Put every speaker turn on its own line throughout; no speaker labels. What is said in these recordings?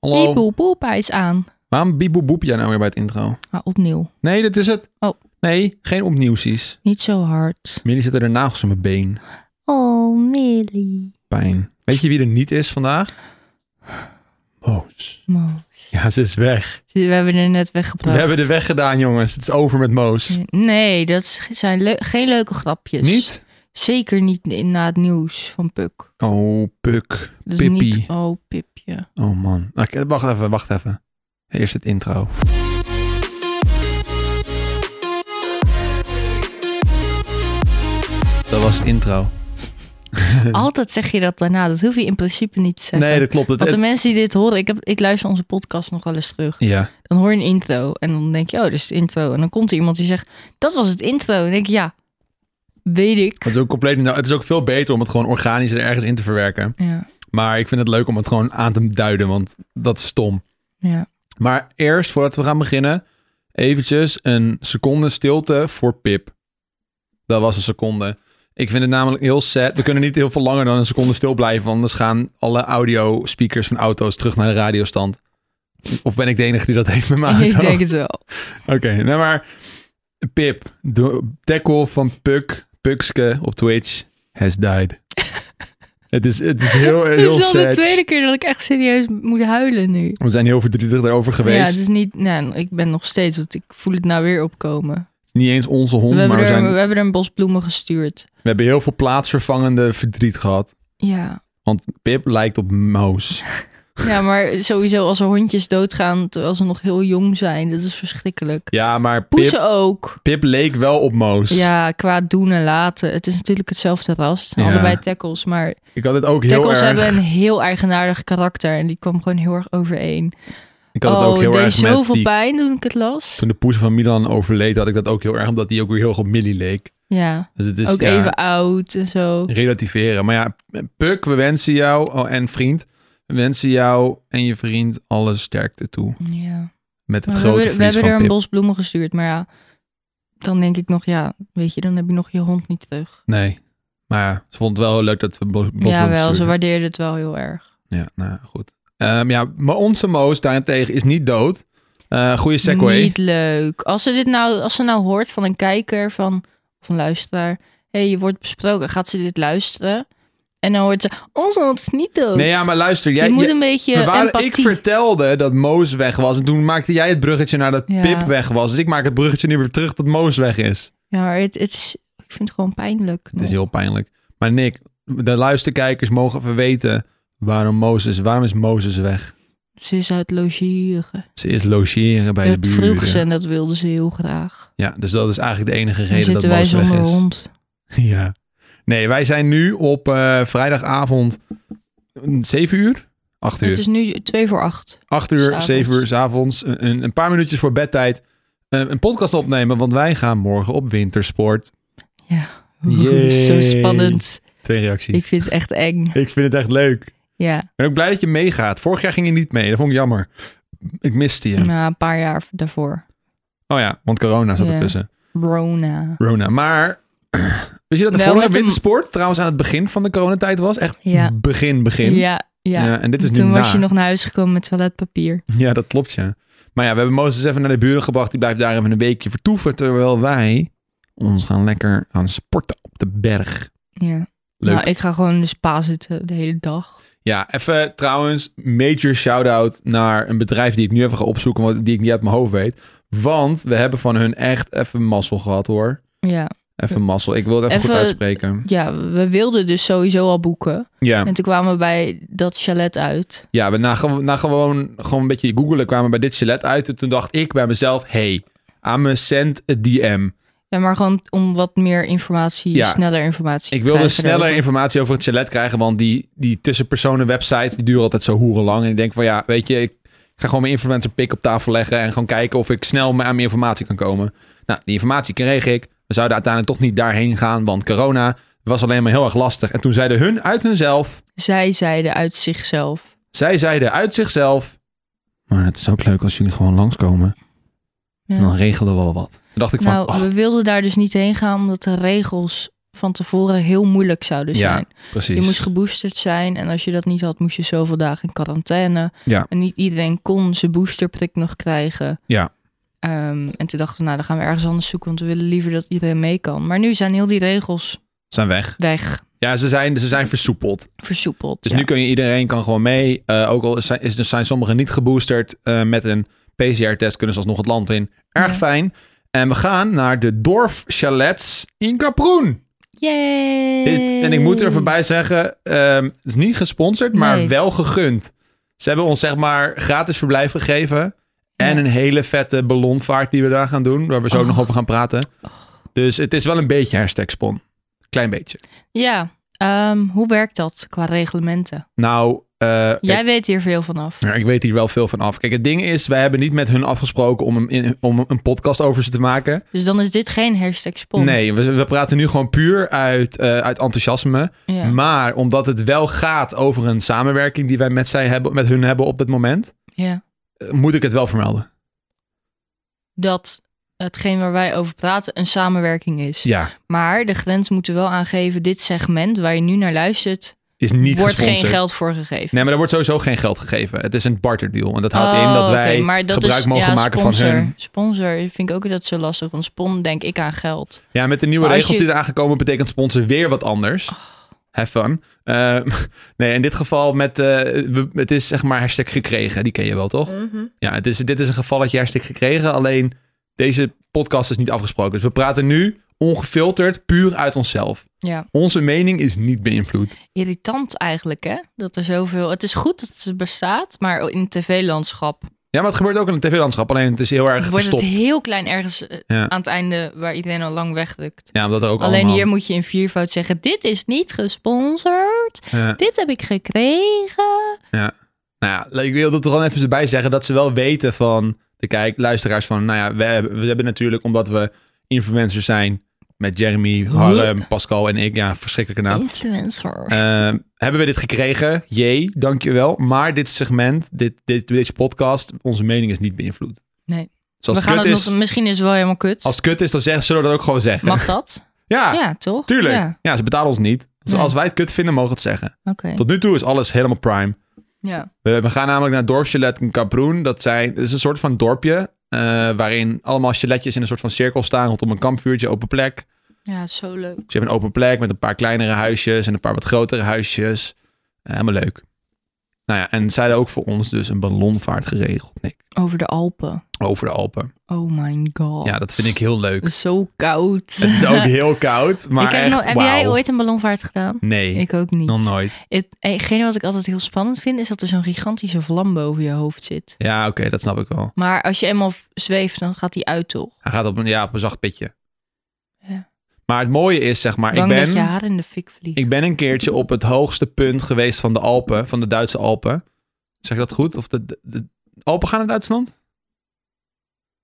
Hallo.
Pipoepoepijs aan.
Waarom bieboeboep jij nou weer bij het intro?
Maar opnieuw.
Nee, dit is het.
Oh.
Nee, geen opnieuwsies.
Niet zo hard.
Millie zitten er nagels in mijn been.
Oh, Millie.
Pijn. Weet je wie er niet is vandaag? Moos.
Moos.
Ja, ze is weg.
We hebben er net
We
weggebracht.
hebben de weg gedaan, jongens. Het is over met Moos.
Nee, dat is- zijn leu- geen leuke grapjes.
Niet?
Zeker niet in- na het nieuws van Puk.
Oh, puk.
Dus
Pippie.
niet, oh, Pipje.
Oh man. Oké, wacht even, wacht even. Eerst het intro. Dat was het intro.
Altijd zeg je dat daarna. Dat hoef je in principe niet te zeggen.
Nee, dat klopt. Het,
Want de
het-
mensen die dit horen, ik, heb, ik luister onze podcast nog wel eens terug.
ja.
Dan hoor je een intro en dan denk je, oh, dat is het intro. En dan komt er iemand die zegt, dat was het intro. En dan denk je, ja, weet ik.
Het is ook compleet. Nou, het is ook veel beter om het gewoon organisch er ergens in te verwerken.
Ja,
Maar ik vind het leuk om het gewoon aan te duiden, want dat is stom.
ja.
Maar eerst, voordat we gaan beginnen, eventjes een seconde stilte voor Pip. Dat was een seconde. Ik vind het namelijk heel sad. We kunnen niet heel veel langer dan een seconde stil blijven, want anders gaan alle audio speakers van auto's terug naar de radiostand. Of ben ik de enige die dat heeft met mijn auto?
ik denk het wel.
Oké, nou maar Pip, de tackle van Puk, Pukske op Twitch, has died. het, is, het is heel, heel
Het is al de
sad.
tweede keer dat ik echt serieus moet huilen nu.
We zijn heel verdrietig daarover geweest.
Ja, het is niet. Nou, ik ben nog steeds, want ik voel het nou weer opkomen.
Niet eens onze
We
hond, maar
hebben,
we,
er,
zijn,
we hebben er een bos bloemen gestuurd.
we hebben heel veel plaatsvervangende verdriet gehad.
Ja.
Want Pip lijkt op Moos.
ja, maar sowieso als er hondjes doodgaan terwijl ze nog heel jong zijn, dat is verschrikkelijk.
Ja, maar Pip,
Poezen ook.
Pip leek wel op Moos.
Ja, qua doen en laten. Het is natuurlijk hetzelfde ras. Het zijn
Ja.
Allebei tackles, maar
Ik had het ook heel
tackles
erg.
hebben een heel eigenaardig karakter en die kwam gewoon heel erg overeen.
Ik had het
oh,
ook heel
het deed
erg met
zoveel
die-
pijn toen ik het las.
Toen de poes van Milan overleed, had ik dat ook heel erg, omdat die ook weer heel erg op Millie leek.
Ja,
Dus het is
ook
ja.
even oud en zo.
relativeren. Maar ja, Puk, we wensen jou oh, en vriend, we wensen jou en je vriend alle sterkte toe.
Ja.
Met het
Maar
grote
we hebben, we
verlies
hebben er
van
een
Pip.
bos bloemen gestuurd, maar ja, dan denk ik nog, ja, weet je, dan heb je nog je hond niet terug.
Nee, maar ja, ze vond het wel heel leuk dat we bos
ja, wel, ze
stuurden.
waardeerde het wel heel erg.
Ja, nou goed. Ehm, ja, maar onze Moos daarentegen is niet dood. Eh goede segue.
Niet leuk. Als ze dit nou, als ze nou hoort van een kijker, van, of een luisteraar, hé, hey, je wordt besproken, gaat ze dit luisteren? En dan hoort ze, onze hond is niet dood.
Nee, ja, maar luister. Jij,
je moet
jij-
een beetje
we waren- ik
empathie.
vertelde dat Moos weg was. En toen maakte jij het bruggetje naar dat
Ja.
Pip weg was. Dus ik maak het bruggetje nu weer terug dat Moos weg is.
Ja, maar het, het is, ik vind het gewoon pijnlijk.
Het is
nog.
heel pijnlijk. Maar Nick, de luisterkijkers mogen even weten waarom Mozes, waarom is Mozes weg?
Ze is uit logeren.
Ze is logeren bij de
Dat vroeg ze
buren.
en dat wilde ze heel graag.
Ja, dus dat is eigenlijk de enige
Dan
reden dat
zitten wij
Mozes weg
zonder
is.
hond.
Ja. Nee, wij zijn nu op eh, vrijdagavond eh, 7 uur? 8 uur.
Het is nu twee voor acht.
8 uur,
S'avonds.
7 uur, 's avonds, een, een- een paar minuutjes voor bedtijd, eh, een podcast opnemen, want wij gaan morgen op wintersport. Yay.
Zo spannend.
Twee reacties.
Ik vind het echt eng.
ik vind het echt leuk.
Ja,
Ik ben ook blij dat je meegaat. Vorig jaar ging je niet mee. Dat vond ik jammer. Ik miste je.
na een paar jaar daarvoor.
Oh ja, want corona zat
Ja.
ertussen.
Rona.
Rona. Maar weet je dat de
Wel
vorige
met een-
wintersport trouwens aan het begin van de coronatijd was? Echt
Ja.
begin, begin.
Ja, ja.
Ja, en dit is
Toen
nu
was
na.
je nog naar huis gekomen met toiletpapier.
Ja, dat klopt ja. Maar ja, we hebben Mozes even naar de buren gebracht. Die blijft daar even een weekje vertoeven. Terwijl wij ons gaan lekker gaan sporten op de berg.
Ja.
Leuk.
Nou, ik ga gewoon in de spa zitten de hele dag.
Ja, even trouwens, major shout-out naar een bedrijf die ik nu even ga opzoeken, want die ik niet uit mijn hoofd weet. Want we hebben van hun echt even mazzel gehad hoor.
Ja.
Even mazzel. Ik wil het even, goed
Even-
uitspreken.
ja, we wilden dus sowieso al boeken.
Ja,
En toen kwamen we bij dat chalet uit.
ja we na, gewo- na gewoon, gewoon een beetje googelen kwamen we bij dit chalet uit. En toen dacht ik bij mezelf, hey, aan me send a DM.
Ja, maar gewoon om wat meer informatie,
Ja.
sneller informatie te
Ik wilde
krijgen
sneller
daarover.
informatie over het chalet krijgen, want die, die tussenpersonen websites die duren altijd zo hoerenlang. En ik denk van ja, weet je, ik ga gewoon mijn influencer pick op tafel leggen en gewoon kijken of ik snel me- aan mijn informatie kan komen. Nou, die informatie kreeg ik. We zouden uiteindelijk toch niet daarheen gaan, want corona was alleen maar heel erg lastig. En toen zeiden hun uit hunzelf,
Zij zeiden uit zichzelf.
zij zeiden uit zichzelf, maar het is ook leuk als jullie gewoon langskomen.
Ja.
Oh, En dan regelen we wel wat. Toen dacht ik van,
nou,
oh,
we wilden daar dus niet heen gaan omdat de regels van tevoren heel moeilijk zouden
Ja,
zijn.
Precies.
Je moest geboosterd zijn en als je dat niet had, moest je zoveel dagen in quarantaine.
Ja.
En niet iedereen kon zijn boosterprik nog krijgen.
Ja.
Ehm, en toen dachten we, nou, dan gaan we ergens anders zoeken, want we willen liever dat iedereen mee kan. Maar nu zijn heel die regels
Zijn weg.
weg,
Ja, ze zijn, ze zijn versoepeld.
versoepeld.
Dus
ja.
nu kun je iedereen kan gewoon mee. Eh, ook al zijn, is, zijn sommigen niet geboosterd eh, met een PCR-test, kunnen ze alsnog het land in. Erg
Ja.
fijn. En we gaan naar de dorpschalets in Kaproen.
Yay!
Dit, en ik moet er voorbij zeggen, ehm, het is niet gesponsord, maar
Nee.
wel gegund. Ze hebben ons zeg maar gratis verblijf gegeven. En
Ja.
een hele vette ballonvaart die we daar gaan doen, waar we zo
Oh.
nog over gaan praten. Dus het is wel een beetje hashtag spon. Klein beetje.
Ja, ehm, hoe werkt dat qua reglementen?
Nou, eh, kijk,
Jij weet hier veel vanaf.
Ja, ik weet hier wel veel van af. Kijk, het ding is, wij hebben niet met hun afgesproken om een, in- om een podcast over ze te maken.
Dus dan is dit geen hashtag spon.
Nee, we, we praten nu gewoon puur uit, eh, uit enthousiasme.
Ja.
Maar omdat het wel gaat over een samenwerking die wij met, zij hebben, met hun hebben op dit moment,
ja.
eh, moet ik het wel vermelden.
Dat hetgeen waar wij over praten een samenwerking is.
Ja,
Maar de grens moet er wel aangeven, dit segment waar je nu naar luistert,
is niet
wordt
gesponsord.
geen geld voor gegeven.
Nee, maar er wordt sowieso geen geld gegeven. Het is een barterdeal. En dat houdt
Oh,
in dat
oké,
wij
maar dat
gebruik
is-
mogen
ja,
maken
sponsor.
van hun.
Sponsor vind ik ook altijd zo lastig, want spon denk ik aan geld.
Ja, met de nieuwe
Maar als
regels
je- Oh.
die eraan gekomen betekent sponsor weer wat anders. Have fun. Eh, nee, in dit geval met, eh, we- het is zeg maar hashtag gekregen. Die ken je wel, toch? Ja, het is, dit is een gevalletje hashtag gekregen. Alleen deze podcast is niet afgesproken. Dus we praten nu ongefilterd, puur uit onszelf.
Ja,
Onze mening is niet beïnvloed.
irritant eigenlijk hè, dat er zoveel... Het is goed dat het bestaat, maar in het tv-landschap
Ja, maar het gebeurt ook in het tv-landschap. Alleen het is heel erg
wordt
gestopt.
het heel klein ergens eh,
Ja.
aan het einde waar iedereen al lang wegrukt.
Ja, omdat er ook
Alleen
allemaal...
hier moet je in viervoud zeggen, dit is niet gesponsord,
Ja.
dit heb ik gekregen.
Nou ja, ik wil dat er gewoon even bij zeggen dat ze wel weten van de kijk, luisteraars van, nou ja, we hebben, we hebben natuurlijk, omdat we influencers zijn met Jeremy, Harlem, Pascal en ik, ja, verschrikkelijke
Oh.
naam.
Influencer.
Ehm, hebben we dit gekregen? Jee, dankjewel. Maar dit segment, dit, dit, deze podcast, onze mening is niet beïnvloed.
Nee.
Dus als,
we
het
gaan
kut,
het
is,
nog, misschien is het wel helemaal kut.
als het kut is, dan zeggen, zullen we dat ook gewoon zeggen.
Mag dat?
ja,
Ja, toch?
tuurlijk. Ja.
Ja,
ze betalen ons niet. Dus
Nee.
als wij het kut vinden, mogen we het zeggen.
oké.
Tot nu toe is alles helemaal prime.
Ja.
We, we gaan namelijk naar dorp Chalet en Kaproen. Dat, zijn, dat is een soort van dorpje. eh, waarin allemaal chaletjes in een soort van cirkel staan rondom een kampvuurtje, open plek. Dus
ja, zo leuk.
je hebt een open plek met een paar kleinere huisjes en een paar wat grotere huisjes. Eh, helemaal leuk. Nou ja, en zij hadden ook voor ons dus een ballonvaart geregeld, Nick.
Over de Alpen.
Over de Alpen.
Oh my god.
Ja, dat vind ik heel leuk.
Het is Zo koud.
Het is ook heel koud, maar
ik heb,
echt
nog- heb
wauw.
jij ooit een ballonvaart gedaan?
Nee,
Ik ook niet.
nog nooit.
Het, hetgene wat ik altijd heel spannend vind, is dat er zo'n gigantische vlam boven je hoofd zit.
Ja, oké, dat snap ik wel.
Maar als je eenmaal v- zweeft, dan gaat die uit, toch?
Hij gaat op een, ja, op een zacht pitje.
Ja.
Maar het mooie is, zeg maar,
Bang
ik ben...
dat je haar in de fik vliegt.
Ik ben een keertje op het hoogste punt geweest van de Alpen, van de Duitse Alpen. Zeg ik dat goed? Of de, de, de- Alpen gaan naar Duitsland?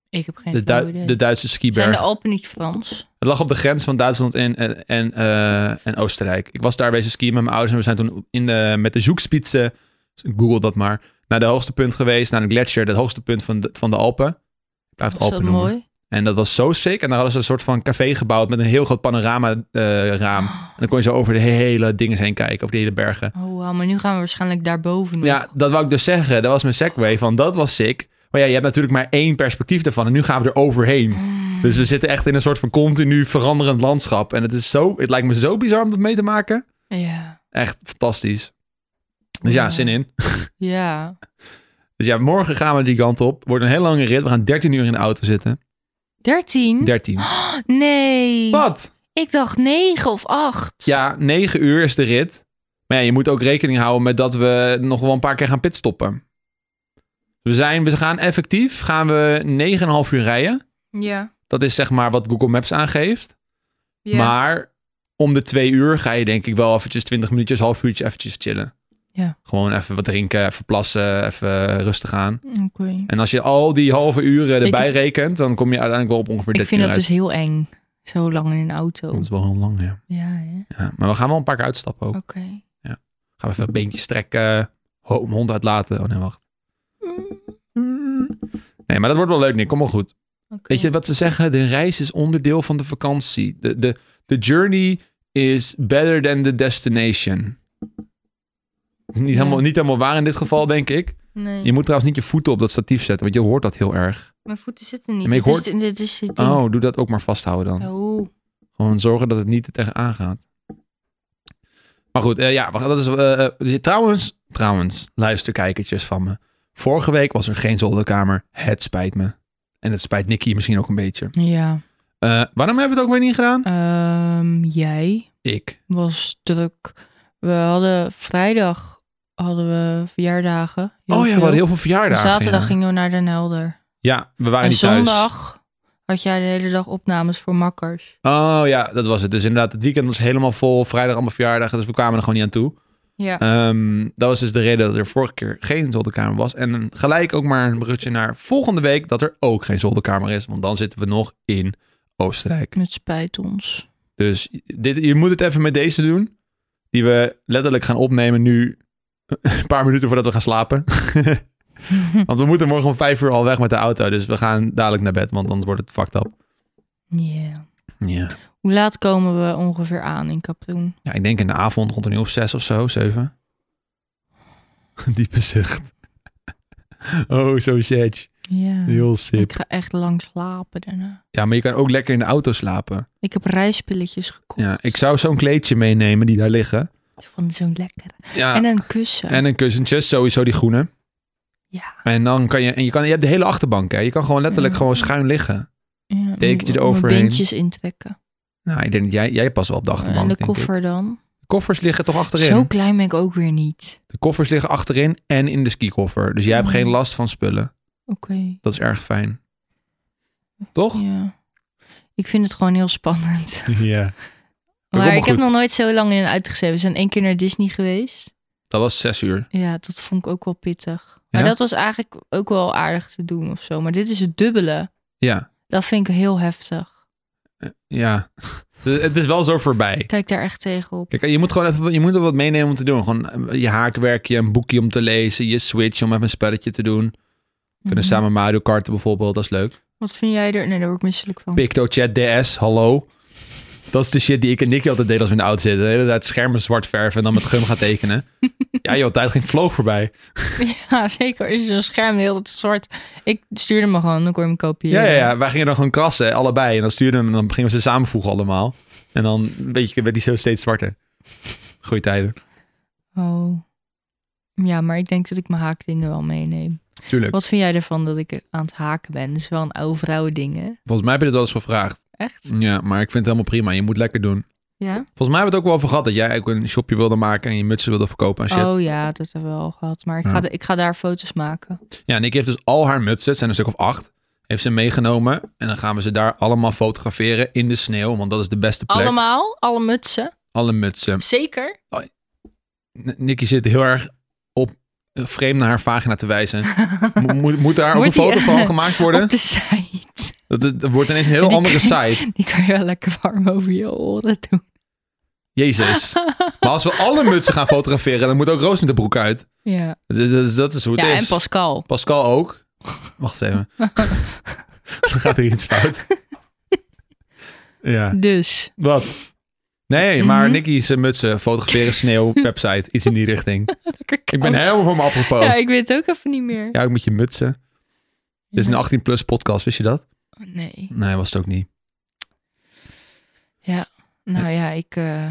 Ik heb geen
De,
flauw
Du-
idee.
de Duitse
Zijn
skiberg.
de Alpen niet Frans?
Het lag op de grens van Duitsland en, en, en, eh, en Oostenrijk. Ik was daar bezig skiën met mijn ouders en we zijn toen in de, met de zoekspitsen, dus google dat maar, naar de hoogste punt geweest, naar de gletsjer, het hoogste punt van de, van de Alpen. Ik blijf het
Was dat
Alpen noemen.
mooi?
En dat was zo sick. En daar hadden ze een soort van café gebouwd met een heel groot panorama eh, raam. En dan kon je zo over de hele dingen heen kijken, over de hele bergen.
Oh, wauw, maar nu gaan we waarschijnlijk daarboven nog.
Ja, dat wou ik dus zeggen. Dat was mijn segue van dat was sick. Maar ja, je hebt natuurlijk maar één perspectief daarvan. En nu gaan we er overheen. Dus we zitten echt in een soort van continu veranderend landschap. En het, is zo, het lijkt me zo bizar om dat mee te maken.
Ja.
Echt fantastisch. Dus ja,
Ja.
zin in.
Ja.
Dus ja, morgen gaan we die kant op. Wordt een hele lange rit. We gaan 13 uur in de auto zitten.
13?
13.
Ah, nee.
Wat?
Ik dacht 9 of 8.
Ja, 9 uur is de rit. Maar ja, je moet ook rekening houden met dat we nog wel een paar keer gaan pitstoppen. We, zijn, we gaan effectief, gaan we 9,5 uur rijden.
Ja.
Dat is zeg maar wat Google Maps aangeeft.
Ja.
Maar om de twee uur ga je denk ik wel eventjes 20 minuutjes, half uurtje eventjes chillen.
Ja.
Gewoon even wat drinken, even plassen, even rustig aan.
Oké.
En als je al die halve uren erbij
Ik-
rekent, dan kom je uiteindelijk wel op ongeveer
Ik
13
vind
uur
dat
uit.
dus heel eng. Zo lang in een auto.
Dat is wel heel lang, ja.
Ja, hè? Oké.
ja. Maar we gaan wel een paar keer uitstappen ook. Gaan we even beentjes strekken, ho- hond uitlaten. Oh nee, wacht.
Mm.
Nee, maar dat wordt wel leuk, Nick. Kom wel goed.
Oké.
Weet je wat ze zeggen? De reis is onderdeel van de vakantie. De, de, de journey is better than the destination. Niet helemaal, niet helemaal waar in dit geval, denk ik.
Nee,
Je moet trouwens niet je voeten op dat statief zetten, want je hoort dat heel erg.
mijn voeten zitten niet.
Maar ik
Dit is, dit is het ding.
Oh, doe dat ook maar vasthouden dan.
Oh.
Gewoon zorgen dat het niet er tegenaan gaat. Maar goed, eh, ja, we gaan- dat is... eh, eh, je- trouwens, trouwens, luisterkijkertjes van me. Vorige week was er geen zolderkamer. Het spijt me. En het spijt Nicky misschien ook een beetje.
Ja.
Eh, waarom hebben we het ook weer niet gedaan?
Ehm, jij
Ik.
was druk. We hadden vrijdag hadden we verjaardagen. Heel
Oh ja, we
veel.
hadden heel veel verjaardagen.
En zaterdag
ja.
gingen we naar Den Helder.
Ja, we waren
en
niet Ah, thuis.
zondag had jij de hele dag opnames voor makkers.
Oh ja, dat was het. Dus inderdaad, het weekend was helemaal vol. Vrijdag allemaal verjaardagen, dus we kwamen er gewoon niet aan toe.
Ja.
Ehm, dat was dus de reden dat er vorige keer geen zolderkamer was. En gelijk ook maar een bruggetje naar volgende week dat er ook geen zolderkamer is. Want dan zitten we nog in Oostenrijk.
Het spijt ons.
Dus dit, je moet het even met deze doen. Die we letterlijk gaan opnemen nu eh, een paar minuten voordat we gaan slapen. want we moeten morgen om vijf uur al weg met de auto. Dus we gaan dadelijk naar bed, want anders wordt het fucked up.
Ja.
Ja.
Hoe laat komen we ongeveer aan in Kaproen?
Ja, ik denk in de avond rond een uur of zes of zo, zeven. Diepe zucht. Oh, zo zet.
Ja.
Heel sip.
Ik ga echt lang slapen daarna.
Ja, maar je kan ook lekker in de auto slapen.
Ik heb reispilletjes gekocht.
Ja, ik zou zo'n kleedje meenemen die daar liggen.
Ik vond het zo lekker.
Ja.
En een kussen.
En een kussentje, sowieso die groene.
Ja.
En dan kan je, en je kan, je hebt de hele achterbank hè. Je kan gewoon letterlijk
Ja.
gewoon schuin liggen.
ja
Dekentje
mijn- mijn
eroverheen.
Beentjes intrekken.
Nou, ik denk, dat jij, jij past wel op de achterbank,
en de
denk ik.
koffer dan.
Koffers liggen toch achterin?
Zo klein ben ik ook weer niet.
De koffers liggen achterin en in de skikoffer. Dus jij hebt
Ja.
geen last van spullen.
Oké.
Dat is erg fijn. Toch?
Ja. Ik vind het gewoon heel spannend.
Ja. komt
Maar
wel
ik heb
goed.
nog nooit zo lang in en uit gezeten. We zijn één keer naar Disney geweest.
Dat was zes uur.
Ja, dat vond ik ook wel pittig. Maar
Ja?
dat was eigenlijk ook wel aardig te doen of zo. Maar dit is het dubbele.
Ja.
Dat vind ik heel heftig.
Ja. Dus het is wel zo voorbij.
Ik kijk daar echt tegen op.
Kijk, je moet gewoon even je moet er wat meenemen om te doen. Gewoon eh, je haakwerkje, een boekje om te lezen, je Switch om even een spelletje te doen. Kunnen
Mhm.
samen Mario Karten bijvoorbeeld, dat is leuk.
Wat vind jij er? Nee, daar word ik misselijk van.
PictoChat DS, hallo. Dat is de shit die ik en Nicky altijd deden als we in de auto zitten. De hele tijd schermen zwart verven en dan met gum gaan tekenen. ja joh, tijd ging vloog voorbij.
Ja, zeker. Is zo'n scherm de hele tijd zwart. Ik stuurde me gewoon, dan kon je hem
Ja,
kopiëren.
ja, ja. Wij gingen dan gewoon krassen, allebei. En dan stuurden we hem en dan gingen we ze samenvoegen allemaal. En dan weet je, werd die zo steeds zwarter. Goeie tijden.
Oh. Ja, maar ik denk dat ik mijn haakdingen wel meeneem.
Tuurlijk.
Wat vind jij ervan dat ik aan het haken ben? Dat is wel een oude vrouwen ding, hè?
Volgens mij heb je dit wel eens gevraagd.
Echt?
Ja, maar ik vind het helemaal prima. Je moet lekker doen.
Ja?
Volgens mij hebben we het ook wel over gehad dat jij ook een shopje wilde maken en je mutsen wilde verkopen en shit.
Oh ja, dat hebben we al gehad. Maar ik
Ja.
ga, de- ik ga daar foto's maken.
Ja, Nick heeft dus al haar mutsen, het zijn een stuk of acht, heeft ze meegenomen. En dan gaan we ze daar allemaal fotograferen in de sneeuw, want dat is de beste plek.
Allemaal? Alle mutsen?
Alle mutsen.
Zeker?
N- Nicky zit heel erg op eh, vreemd naar haar vagina te wijzen. Mo- moet, moet daar ook een
Wordt
foto
die-
van gemaakt worden?
Op de site.
Dat, is- dat wordt ineens een heel
Die
andere
krijg-
site.
Die kan je wel lekker warm over je oren doen.
Jezus. Maar als we alle mutsen gaan fotograferen, dan moet ook Roos met de broek uit.
Ja,
Dat is, dat is, dat is hoe het
ja
is.
en Pascal.
Pascal ook. Wacht eens even. Dan gaat er iets fout. ja.
Dus,
Wat? Nee, maar
Mhm.
Nicky's eh, mutsen, fotograferen, sneeuw, website, iets in die richting.
lekker
Ik ben
koud.
helemaal van me apropos.
Ja,
Ja,
ik weet het ook even niet meer.
ook met je mutsen. Dit is een
Ja.
18 plus podcast, wist je dat?
Nee.
Nee, was het ook niet.
Nou ja, ik, eh,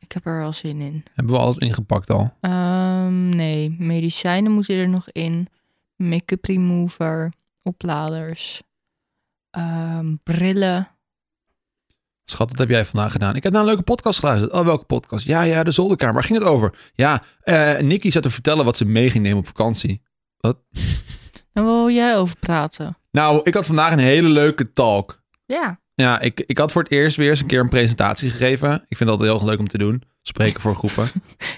ik heb er wel zin in.
Hebben we alles ingepakt al?
Ehm, nee, medicijnen moeten er nog in. Make-up remover, opladers, ehm, brillen.
Schat, wat heb jij vandaag gedaan? Ik heb naar een leuke podcast geluisterd. Oh, welke podcast? Ja, ja, de zolderkamer. Waar ging het over? Ja, eh, Nicky zat te vertellen wat ze mee ging nemen op vakantie.
Daar wil jij over praten.
Nou, ik had vandaag een hele leuke talk.
Ja.
Ja, ik, ik had voor het eerst weer eens een keer een presentatie gegeven. Ik vind dat heel leuk om te doen. Spreken voor groepen.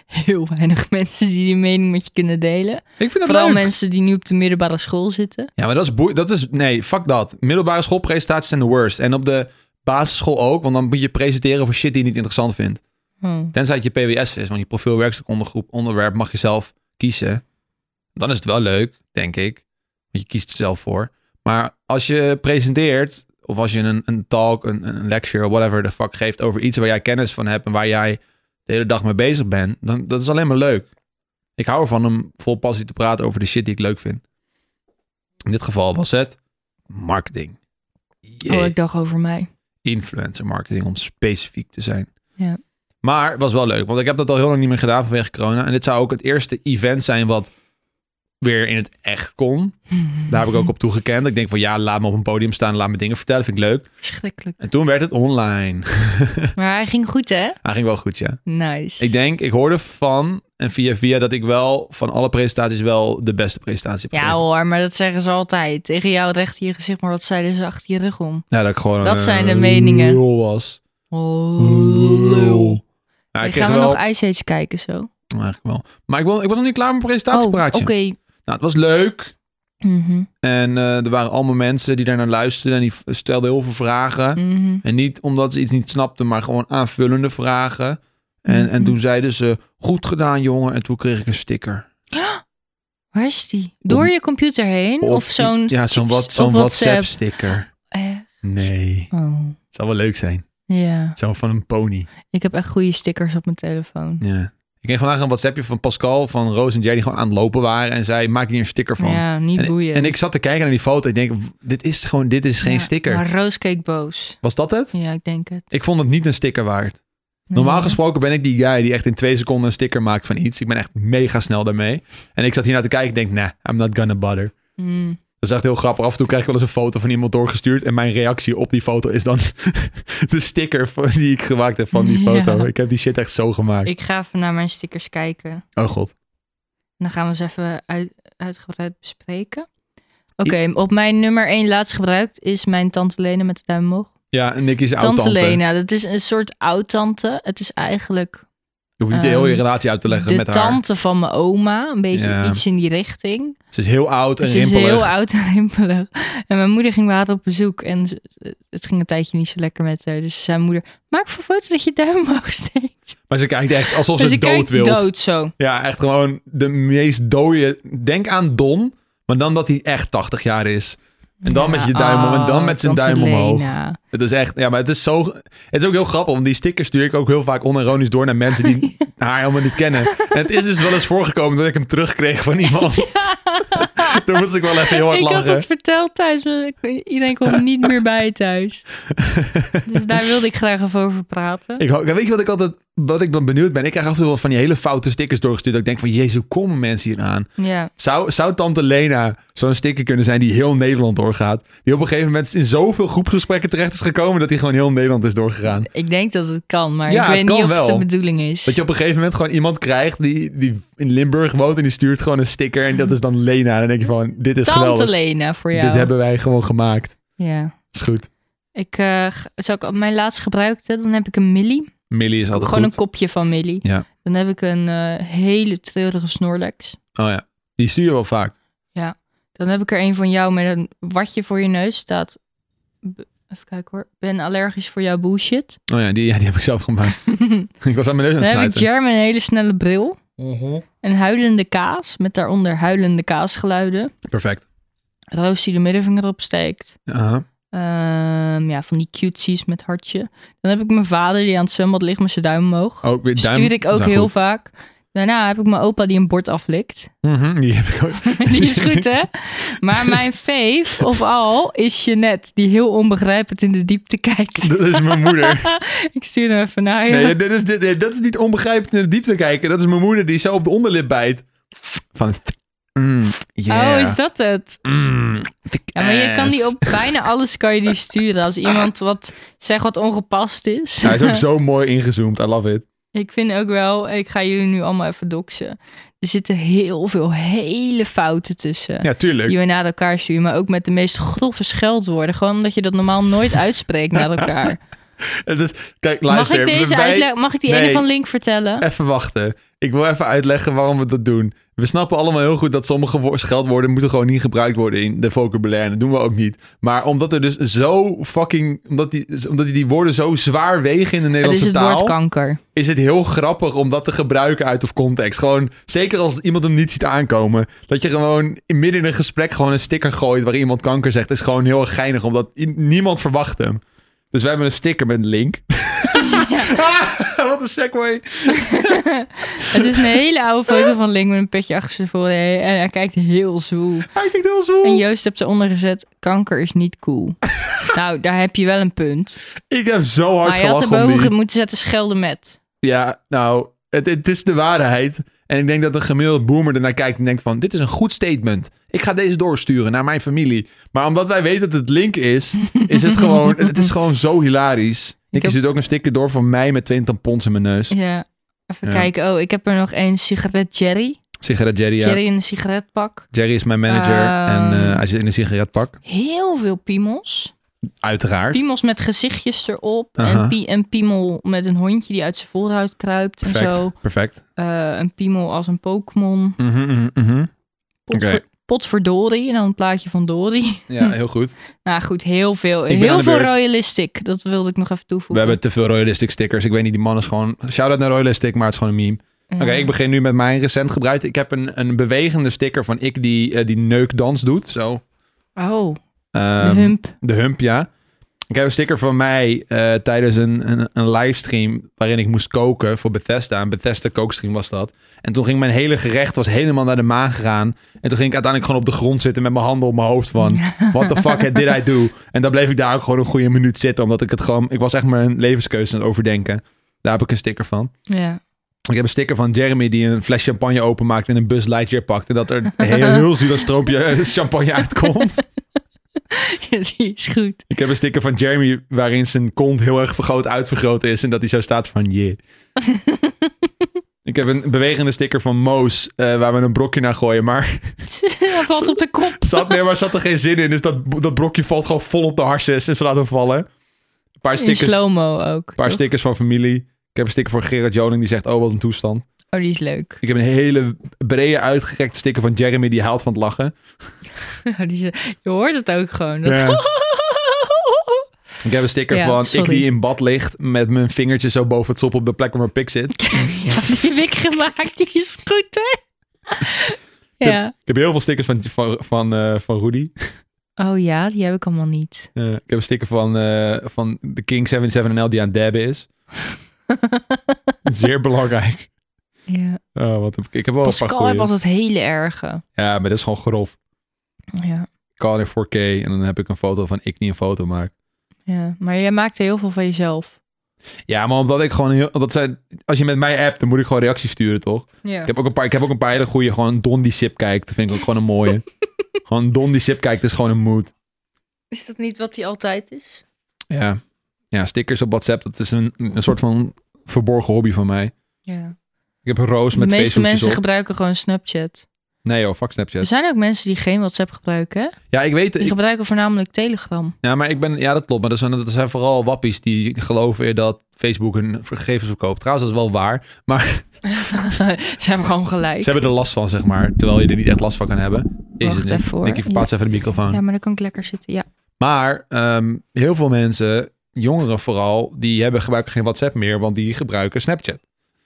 Heel weinig mensen die die mening met je kunnen delen.
Ik vind dat
Vooral
leuk.
mensen die nu op de middelbare school zitten.
Ja, maar dat is, boe- dat is... Nee, fuck dat. Middelbare schoolpresentaties zijn de worst. En op de basisschool ook. Want dan moet je presenteren voor shit die je niet interessant vindt.
Oh.
Tenzij het je PWS is. Want je profiel werkstuk ondergroep onderwerp mag je zelf kiezen. Dan is het wel leuk, denk ik. Want je kiest er zelf voor. Maar als je presenteert Of als je een, een talk, een, een lecture, whatever the fuck geeft over iets waar jij kennis van hebt en waar jij de hele dag mee bezig bent, dan dat is alleen maar leuk. Ik hou ervan om vol passie te praten over de shit die ik leuk vind. In dit geval was het marketing. Jee.
Oh, ik dacht over mij.
Influencer marketing, om specifiek te zijn.
Ja.
Maar het was wel leuk, want ik heb dat al heel lang niet meer gedaan vanwege corona. En dit zou ook het eerste event zijn wat weer in het echt kon. Daar heb ik ook op toegekend. Ik denk van ja, laat me op een podium staan, laat me dingen vertellen, vind ik leuk.
Verschrikkelijk.
En toen werd het online.
Maar hij ging goed, hè?
Hij ging wel goed, ja.
Nice.
Ik denk, ik hoorde van en via via dat ik wel van alle presentaties wel de beste presentatie heb
ja
gegeven.
hoor, maar dat zeggen ze altijd. Tegen jou recht in je gezicht, maar wat zeiden ze achter je rug om?
Ja, dat ik gewoon
oh, Dat
een
zijn de meningen.
lul was.
Oh.
Ja, ik kreeg
gaan we
wel...
nog Ice Age kijken zo?
Eigenlijk wel. Maar ik, wil, ik was nog niet klaar met mijn
oh, oké.
presentatiepraatje. Nou, het was leuk.
Mhm,
En eh, er waren allemaal mensen die daar naar luisterden en die v- stelden heel veel vragen.
mhm.
En niet omdat ze iets niet snapten, maar gewoon aanvullende vragen. En, en
Mhm.
toen zeiden ze, goed gedaan jongen. En toen kreeg ik een sticker.
Waar is die? Door je computer heen? Of, zo'n...
Ja, zo'n wat,
op
zo'n
WhatsApp.
WhatsApp sticker.
Eh,
Nee,
oh,
het zou wel leuk zijn.
ja.
Zo van een pony.
Ik heb echt goede stickers op mijn telefoon.
Ja. Ik kreeg vandaag een WhatsAppje van Pascal, van Roos en Jerry, die gewoon aan het lopen waren. En zei, maak hier een sticker van.
Ja, niet boeien.
En ik zat te kijken naar die foto. Ik denk, w- dit is gewoon, dit is geen
Ja,
sticker.
Maar Roos keek boos.
Was dat het?
Ja, ik denk het.
Ik vond het niet een sticker waard.
Nee.
Normaal gesproken ben ik die guy die echt in twee seconden een sticker maakt van iets. Ik ben echt mega snel daarmee. En ik zat hier naar te kijken en denk, nah, I'm not gonna bother.
Mm.
Dat is echt heel grappig. Af en toe krijg ik wel eens een foto van iemand doorgestuurd. En mijn reactie op die foto is dan de sticker van- die ik gemaakt heb van die
Ja.
foto. Ik heb die shit echt zo gemaakt.
Ik ga even naar mijn stickers kijken. En
Oh god.
dan gaan we ze even uit, uitgebreid bespreken. Oké, op mijn nummer 1 laatst gebruikt is mijn tante Lena met de duim omhoog.
Ja, en Nicky's oud-tante.
Tante Lena, dat is een soort oud-tante. Het is eigenlijk
Je hoeft niet heel je
Ehm,
relatie uit te leggen
de
met haar.
tante van mijn oma. Een beetje
Ja.
iets in die richting.
Ze is heel oud en
Ze is
rimpelig.
heel oud en rimpelig. En mijn moeder ging later op bezoek. En ze- het ging een tijdje niet zo lekker met haar. Dus zijn moeder, maak voor foto dat je duim omhoog steekt.
Maar ze kijkt echt alsof
dus
ze
ik kijk
dood wil.
dood zo.
Ja, echt gewoon de meest dode. Denk aan Don, maar dan dat hij echt 80 jaar is. En dan met je duim om en
oh,
dan met zijn duim omhoog.
omhoog.
Het is echt, ja, maar het is zo. Het is ook heel grappig, want die stickers stuur ik ook heel vaak onironisch door naar mensen die haar helemaal niet kennen. En het is dus wel eens voorgekomen dat ik hem terugkreeg van iemand. Toen moest ik wel even heel hard
ik had
lachen.
het verteld thuis, maar ik- iedereen kwam er niet meer bij thuis. Dus daar wilde ik graag even over praten.
Ik, ho- weet je wat ik altijd, wat ik ben benieuwd ben? Ik krijg af en toe wel van die hele foute stickers doorgestuurd. Dat ik denk van, jezus, hoe komen mensen hier aan?
Ja,
Zou, zou tante Lena zo'n sticker kunnen zijn die heel Nederland doorgaat? Die op een gegeven moment in zoveel groepsgesprekken terecht is gekomen dat hij gewoon heel Nederland is doorgegaan.
ik denk dat het kan, maar
Ja,
ik weet
het
niet
kan
of het de
wel.
bedoeling is.
Dat je op een gegeven moment gewoon iemand krijgt die, die in Limburg woont en die stuurt gewoon een sticker en dat is dan Lena. En dan denk je van, dit is
Tante
geweldig.
Lena voor jou.
Dit hebben wij gewoon gemaakt.
Ja.
is goed.
Ik, eh, g- zou ik op mijn laatst gebruikte, dan heb ik een Millie.
Millie is altijd
Gewoon
goed.
een kopje van Millie.
Ja.
Dan heb ik een eh, hele treurige Snorlax.
Oh ja, die stuur je wel vaak.
Dan heb ik er een van jou met een watje voor je neus staat. B- Even kijken hoor. Ben allergisch voor jouw bullshit.
Oh ja, die, ja, die heb ik zelf gemaakt.
dan
ik was aan mijn neus aan het
heb ik
snuiten.
Jerm een hele snelle bril.
Mhm.
Een huilende kaas met daaronder huilende kaasgeluiden.
Perfect.
Roos die de middenvinger opsteekt.
Aha.
Ehm, ja, van die cutesies met hartje. Dan heb ik mijn vader die aan het zwembad ligt met zijn duim omhoog.
Ook weer Oh, duim.
Stuur ik ook
zijn
heel
goed.
vaak. Daarna heb ik mijn opa die een bord aflikt.
Mhm, die heb ik ook.
Die is goed, hè? Maar mijn fave of al is Jeannette, die heel onbegrijpend in de diepte kijkt.
Dat is mijn moeder.
Ik stuur hem even naar je.
Nee, dit is, dit, dit- dat is niet onbegrijpend in de diepte kijken. Dat is mijn moeder die zo op de onderlip bijt. Van... Mm, yeah.
Oh, is dat het?
Mm, thick
Ja, maar je kan die
ass.
op bijna alles kan je die sturen. Als iemand wat zegt wat ongepast is.
Hij is ook zo mooi ingezoomd. I love it.
Ik vind ook wel, ik ga jullie nu allemaal even doxen. Er zitten heel veel hele fouten tussen.
Ja, tuurlijk.
die we naar elkaar sturen, maar ook met de meest grove scheldwoorden. Gewoon omdat je dat normaal nooit uitspreekt naar elkaar.
Het is, kijk,
Mag
luister.
ik deze
wij-
uitleg? Mag ik die
Nee. Eh,
ene van Link vertellen?
Even wachten. Ik wil even uitleggen waarom we dat doen. We snappen allemaal heel goed dat sommige wo- scheldwoorden moeten gewoon niet gebruikt worden in de vocabulaire. Dat doen we ook niet. Maar omdat er dus zo fucking... Omdat die, omdat die woorden zo zwaar wegen in de
Het is
Nederlandse
het
taal...
woord kanker.
is het heel grappig om dat te gebruiken uit of context. Gewoon, zeker als iemand hem niet ziet aankomen. Dat je gewoon in midden in een gesprek gewoon een sticker gooit waar iemand kanker zegt. Is gewoon heel erg geinig, omdat i- niemand verwacht hem. Dus we hebben een sticker met een link. Ah, wat een segway.
Het is een hele oude foto van Link met een petje achter zijn voorhoofd. En hij kijkt heel zoel.
Hij kijkt heel zwoel.
En Joost hebt eronder gezet, kanker is niet cool. nou, daar heb je wel een punt.
Ik heb zo hard
Maar je had
gelachen om
erboven
die.
moeten zetten schelden met.
Ja, nou, het, het is de waarheid. En ik denk dat een gemiddeld boomer ernaar kijkt en denkt van... dit is een goed statement. Ik ga deze doorsturen naar mijn familie. Maar omdat wij weten dat het link is, is het gewoon... het is gewoon zo hilarisch. Ik
heb-
zit ook een sticker door van mij met 20 pons in mijn neus.
Ja, even
Ja.
kijken. Oh, ik heb er nog één sigaret Jerry.
Sigaret Jerry. ja.
Jerry in een sigaretpak.
Jerry is mijn manager
Ehm.
en eh, hij zit in een sigaretpak.
Heel veel piemels.
Uiteraard.
Piemels met gezichtjes erop.
Aha.
En pie een piemel met een hondje die uit zijn voorhuid kruipt en zo.
Perfect. Perfect.
Eh, een piemel als een Pokémon.
Mhm, mhm, mhm.
Potver,
Oké.
Potverdorie. En dan een plaatje van Dory.
Ja, heel goed.
Nou goed, heel veel.
Ik ben aan
heel
de
veel
beurt.
royalistic. Dat wilde ik nog even toevoegen.
We hebben te veel Royalistic stickers. Ik weet niet, die man is gewoon... Shout-out naar Royalistic, maar het is gewoon een meme.
Ja.
Oké, ik begin nu met mijn recent gebruik. Ik heb een, een bewegende sticker van ik die, eh, die neukdans doet. Zo.
Oh, de
Ehm,
hump.
de hump, ja. Ik heb een sticker van mij eh, tijdens een, een, een livestream waarin ik moest koken voor Bethesda. Een Bethesda kookstream was dat. En toen ging mijn hele gerecht was helemaal naar de maan gegaan. En toen ging ik uiteindelijk gewoon op de grond zitten met mijn handen op mijn hoofd van... What the fuck did I do? En dan bleef ik daar ook gewoon een goede minuut zitten. Omdat ik het gewoon... Ik was echt mijn levenskeuze aan het overdenken. Daar heb ik een sticker van.
Ja.
Ik heb een sticker van Jeremy die een fles champagne openmaakt en een bus Lightyear pakt. En dat er een heel, heel zielig stroopje champagne uitkomt.
die is goed.
Ik heb een sticker van Jeremy waarin zijn kont heel erg vergroot uitvergroot is. En dat hij zo staat van je. Ik heb een bewegende sticker van Moos eh, waar we een brokje naar gooien. Maar
Hij valt op de kop.
zat, nee, maar zat er geen zin in. Dus dat, dat brokje valt gewoon vol op de harses en ze laten vallen. Een paar
In
stickers, een
slow-mo ook.
paar
toch?
stickers van familie. Ik heb een sticker van Gerard Joling die zegt, oh wat een toestand.
Oh, die is leuk.
Ik heb een hele brede uitgerekte sticker van Jeremy die haalt van het lachen.
Oh, die is- Je hoort het ook gewoon. Dat...
Ja. Ik heb een sticker
Ja,
van ik
sorry.
die in bad ligt met mijn vingertje zo boven het sop op de plek waar mijn pik zit.
Ja, die heb ik gemaakt. Die is goed, hè? Ja.
Ik heb heel veel stickers van, van, van, eh, van Rudy.
Oh ja, die heb ik allemaal niet.
Eh, ik heb een sticker van, eh, van de King 77NL die aan het dabben is. Zeer belangrijk.
Ja.
Oh, wat heb ik, ik heb wel een
Pascal
paar
heeft
goeie.
altijd hele erge.
Ja, maar dat is gewoon grof.
Ja,
Ik kan in 4K en dan heb ik een foto van ik die een foto maak.
ja. Maar jij maakt er heel veel van jezelf.
Ja, maar omdat ik gewoon heel... Dat zijn, als je met mij appt, dan moet ik gewoon reacties sturen, toch?
Ja.
Ik heb ook een paar, ik heb ook een paar hele goede, gewoon Don die sip kijkt. Dat vind ik ook gewoon een mooie. gewoon Don die sip kijkt is gewoon een mood.
Is dat niet wat hij altijd is?
Ja. ja, stickers op WhatsApp, dat is een, een soort van verborgen hobby van mij.
Ja.
Ik heb een roos
De
met
meeste
feesthoedjes
mensen
op.
gebruiken Dus- gewoon Snapchat.
Nee joh, fuck
Er
Snapchat.
zijn ook mensen die geen WhatsApp gebruiken, hè?
Ja, ik weet
Die
ik,
gebruiken voornamelijk Telegram.
ja, maar ik ben, ja, dat klopt. Maar er zijn, er zijn vooral wappies die geloven in dat Facebook hun gegevens verkoopt. Trouwens, dat is wel waar. Maar
Ze hebben gewoon gelijk.
ze hebben er last van, zeg maar. Terwijl je er niet echt last van kan hebben. Is
Wacht
het niet.
even, hoor.
Nicky, verplaats even de microfoon.
Ja, maar dan kan ik lekker zitten. Ja. nou,
Maar ehm, heel veel mensen, jongeren vooral, die hebben gebruiken geen WhatsApp meer, want die gebruiken Snapchat.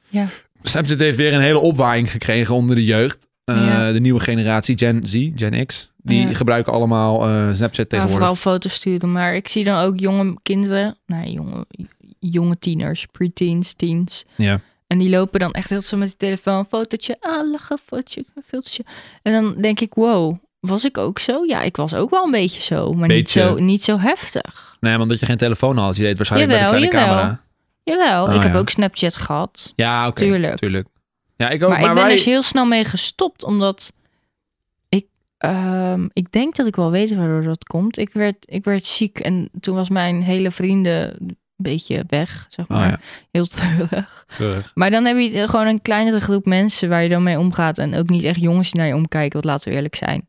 Ja.
Snapchat heeft weer een hele opwaaiing gekregen onder de jeugd. Eh,
Ja.
De nieuwe generatie, Gen Z, Gen X, die
Ja.
gebruiken allemaal eh, Snapchat
Ja,
tegenwoordig.
vooral foto's sturen. Maar ik zie dan ook jonge kinderen, nou jonge, jonge tieners, preteens, teens.
Ja.
En die lopen dan echt heel zo met die telefoon, fotootje, ah, lachen, fotootje, filtertje. En dan denk ik, wow, was ik ook zo? Ja, ik was ook wel een beetje zo, maar niet
Beetje.
zo, niet zo heftig.
Nee, want omdat je geen telefoon had, je deed waarschijnlijk
Jawel,
met een kleine
jawel.
camera.
Jawel,
Ah,
ik heb
ja.
ook Snapchat gehad.
Ja, oké.
Tuurlijk.
Ja, ik ook.
maar,
Maar,
ik ben
wij-
dus heel snel mee gestopt, omdat ik, ehm, ik denk dat ik wel weet waardoor dat komt. Ik werd, ik werd ziek en toen was mijn hele vrienden een beetje weg, zeg maar.
Oh, ja.
Heel treurig.
Keurig.
Maar dan heb je eh, gewoon een kleinere groep mensen waar je dan mee omgaat. En ook niet echt jongens die naar je omkijken, want laten we eerlijk zijn.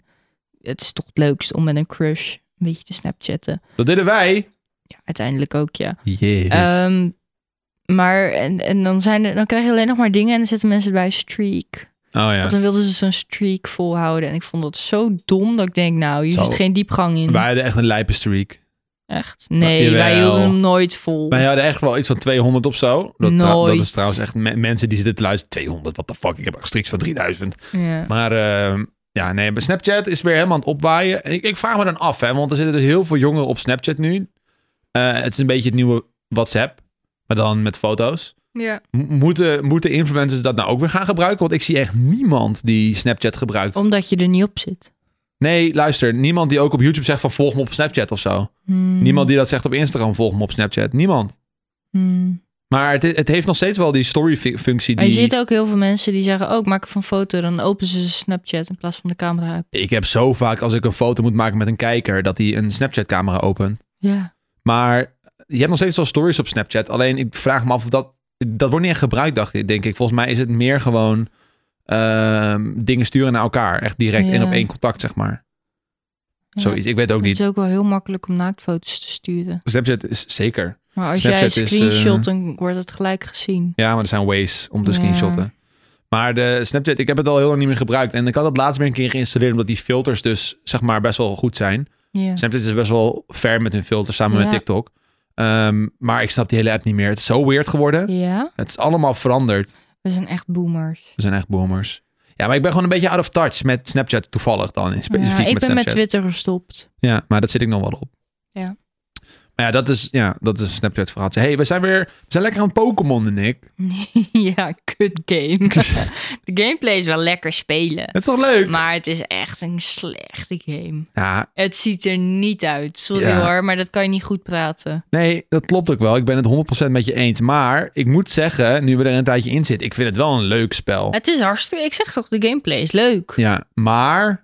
Het is toch het leukst om met een crush een beetje te snapchatten.
Dat deden wij.
Ja, uiteindelijk ook, ja.
Jezus.
Ehm, Maar en, en dan, zijn er, dan krijg je alleen nog maar dingen en dan zetten mensen bij streak.
Oh ja.
Want dan wilden ze zo'n streak volhouden. En ik vond dat zo dom dat ik denk, nou, hier
Zo.
zit geen diepgang in.
Wij hadden echt een lijpe streak.
Echt. Nee,
jawel.
wij hielden hem nooit vol.
Wij hadden echt wel iets van 200 of zo. Dat, trou- dat
Nooit.
is trouwens echt me- mensen die zitten te luisteren. 200, what the fuck? Ik heb echt striks van 3000.
Ja.
Maar ehm, ja, nee, maar Snapchat is weer helemaal aan het opwaaien. En ik, ik vraag me dan af, hè, want er zitten dus heel veel jongeren op Snapchat nu. Eh, het is een beetje het nieuwe WhatsApp, maar dan met foto's.
ja.
M- moeten, moeten influencers dat nou ook weer gaan gebruiken? Want ik zie echt niemand die Snapchat gebruikt.
Omdat je er niet op zit.
Nee, luister, niemand die ook op YouTube zegt van volg me op Snapchat of zo.
Hmm.
Niemand die dat zegt op Instagram, volg me op Snapchat. Niemand.
Hmm.
Maar het, het heeft nog steeds wel die story-functie.
Maar je
Die...
ziet ook heel veel mensen die zeggen, oh, ik maak even een foto. Dan openen ze Snapchat in plaats van de camera. app.
Ik heb zo vaak, als ik een foto moet maken met een kijker, dat hij een Snapchat-camera opent.
Ja.
Maar je hebt nog steeds wel stories op Snapchat. Alleen ik vraag me af of dat. Dat wordt niet echt gebruikt, dacht ik, denk ik. Volgens mij is het meer gewoon ehm, dingen sturen naar elkaar. Echt direct
Ja.
één op één contact, zeg maar.
Ja.
Zoiets. Ik weet ook
Het
niet.
is ook wel heel makkelijk om naaktfoto's te sturen.
Snapchat is zeker.
Maar als
Snapchat
jij
is,
screenshot,
eh,
dan wordt het gelijk gezien.
Ja, maar er zijn ways om te
Ja.
screenshotten. Maar de Snapchat, ik heb het al heel lang niet meer gebruikt. En ik had het laatst weer een keer geïnstalleerd, omdat die filters dus zeg maar best wel goed zijn.
Ja.
Snapchat is best wel ver met hun filters samen
Ja.
met TikTok. Ehm, maar ik snap die hele app niet meer. Het is zo weird geworden.
ja,
Het is allemaal veranderd.
we zijn echt boomers.
We zijn echt boomers. Ja, maar ik ben gewoon een beetje out of touch met Snapchat toevallig dan. In specifiek
Ja, ik ben
met
met
Snapchat.
Twitter gestopt.
ja, maar dat zit ik nog wel op.
Ja.
Maar ja, dat is, ja, dat is een Snapchat verhaaltje. hey, we zijn weer we zijn lekker aan het Pokémonnen, Nick.
ja, kut game.
het
De gameplay is wel lekker spelen.
is toch leuk?
Maar het is echt een slechte game.
Ja,
Het ziet er niet uit. Sorry
Ja.
hoor, maar dat kan je niet goed praten.
Nee, dat klopt ook wel. Ik ben het 100% met je eens. Maar ik moet zeggen, nu we er een tijdje in zitten, ik vind het wel een leuk spel.
Het is hartstikke... Ik zeg toch, de gameplay is leuk.
Ja, maar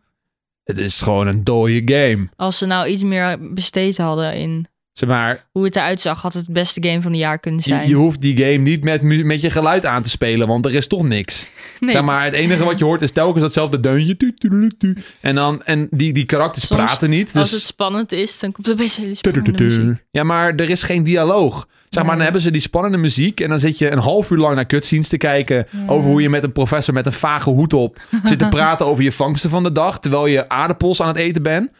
het is gewoon een dode game.
Als ze nou iets meer besteed hadden in
Zeg maar,
hoe het eruit zag... had het het beste game van het jaar kunnen
je,
zijn.
je hoeft die game niet met, mu- met je geluid aan te spelen, want er is toch niks.
nee,
Zeg maar, het enige wat je hoort is telkens datzelfde deuntje. tu, tu, tu, tu. En, dan, en die, die karakters
Soms,
praten niet. Dus...
Als het spannend is, dan komt er best hele
Tu, tu, tu,
spannende
tu.
muziek.
Ja, maar er is geen dialoog. Zeg maar,
Nee.
dan hebben ze die spannende muziek en dan zit je een half uur lang naar cutscenes te kijken
Ja.
over hoe je met een professor met een vage hoed op zit te praten over je vangsten van de dag, terwijl je aardappels aan het eten bent.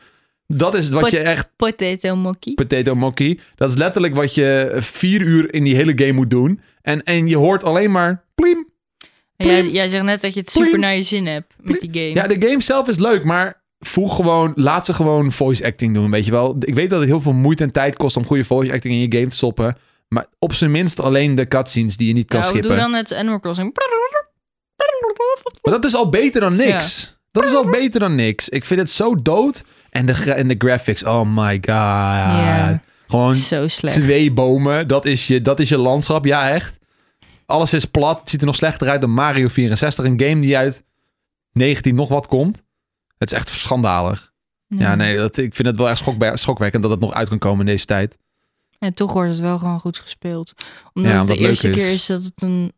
Dat is wat
Pot-
je echt,
Potato Monkey.
potato monkey, dat is letterlijk wat je vier uur in die hele game moet doen. En, en je hoort alleen maar pliem.
En Jij, jij zegt net dat je het super
Plim.
naar je zin hebt met die game.
Ja, de game zelf is leuk, maar voeg gewoon, laat ze gewoon voice acting doen, weet je wel. Ik weet dat het heel veel moeite en tijd kost om goede voice acting in je game te stoppen. Maar op zijn minst alleen de cutscenes die je niet kan
Nou,
schippen.
doe dan het Animal Crossing.
Maar dat is al beter dan niks. Dat is al beter dan niks. Ik vind het zo dood. En de, gra- en de graphics, oh my god.
Ja.
Gewoon
Zo slecht.
twee bomen, dat is, je, dat is je landschap. Ja, echt. Alles is plat. Het ziet er nog slechter uit dan Mario 64. Een game die uit 19 nog wat komt. Het is echt schandalig. Ja,
Mhm.
nee, dat, ik vind het wel echt schokbe- schokwekkend dat het nog uit kan komen in deze tijd.
En toch wordt het wel gewoon goed gespeeld. Omdat
Ja,
het
omdat
de
het
eerste
leuk is.
keer is dat het een,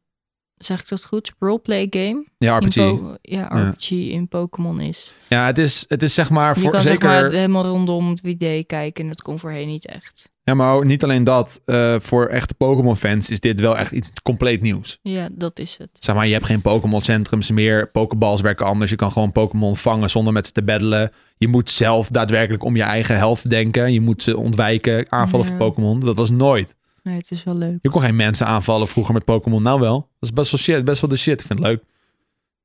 zeg ik dat goed, roleplay game.
Ja,
in
RPG.
Po- ja, RPG in Pokémon is.
Ja, het is, het is zeg maar
je
voor
kan
zeker...
zeg maar helemaal rondom 3D kijken en dat kon voorheen niet echt.
Ja, maar ook niet alleen dat. eh, voor echte Pokémon-fans is dit wel echt iets compleet nieuws.
Ja, dat is het.
Zeg maar, je hebt geen Pokémon-centrums meer. Pokéballs werken anders. Je kan gewoon Pokémon vangen zonder met ze te battelen. Je moet zelf daadwerkelijk om je eigen helft denken. Je moet ze ontwijken. Aanvallen
Ja.
van Pokémon. Dat was nooit.
Nee, het is wel leuk.
Je kon geen mensen aanvallen vroeger met Pokémon. Nou wel. Dat is best wel shit. Best wel de shit. Ik vind het leuk.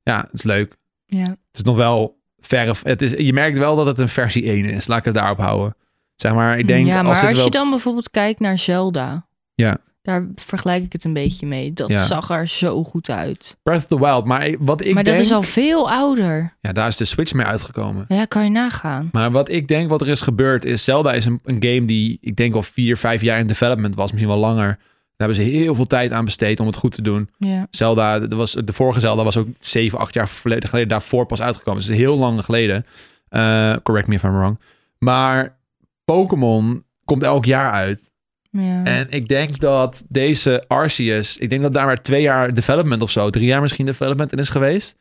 Ja, het is leuk.
Ja.
Het is nog wel verf. Het is, je merkt wel dat het een versie 1 is. Laat ik het daarop houden. Zeg maar, ik denk
ja, maar
als
als,
dit wel...
je dan bijvoorbeeld kijkt naar Zelda.
Ja.
Daar vergelijk ik het een beetje mee. Dat
Ja.
zag er zo goed uit.
Breath of the Wild. Maar ik- wat ik
maar
denk...
dat is al veel ouder.
Ja, daar is de Switch mee uitgekomen.
Ja, kan je nagaan.
Maar wat ik denk wat er is gebeurd is... Zelda is een, een game die ik denk al vier, vijf jaar in development was. Misschien wel langer. Daar hebben ze heel veel tijd aan besteed om het goed te doen.
Ja.
Zelda, dat was, de vorige Zelda was ook zeven, acht jaar verleden- geleden daarvoor pas uitgekomen. Dus het is heel lang geleden. Eh, correct me if I'm wrong. Maar Pokémon komt elk jaar uit.
ja.
En ik denk dat deze Arceus... Ik denk dat daar maar twee jaar development of zo... drie jaar misschien development in is geweest.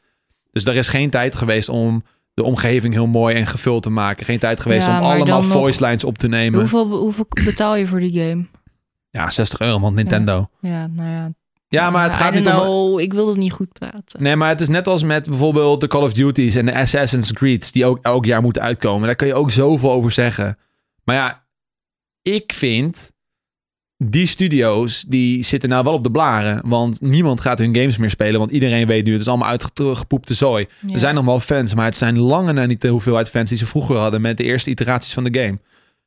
Dus daar is geen tijd geweest om de omgeving heel mooi en gevuld te maken. Geen tijd geweest
Ja,
om
maar
allemaal
dan nog-
voice lines op te nemen.
hoeveel, hoeveel betaal je voor die game?
Ja, 60 euro, want Nintendo. Ja,
Ja, nou ja.
maar het
I
gaat
don't
niet om...
know. Ik wil het niet goed praten.
Nee, maar het is net als met bijvoorbeeld de Call of Duty's en de Assassin's Creed's, die ook elk jaar moeten uitkomen. Daar kun je ook zoveel over zeggen. Maar ja, ik vind die studio's, die zitten nou wel op de blaren. Want niemand gaat hun games meer spelen, want iedereen weet nu, het is allemaal uitgepoepte zooi.
Ja.
Er zijn nog wel fans, maar het zijn lange na niet de hoeveelheid fans die ze vroeger hadden met de eerste iteraties van de game.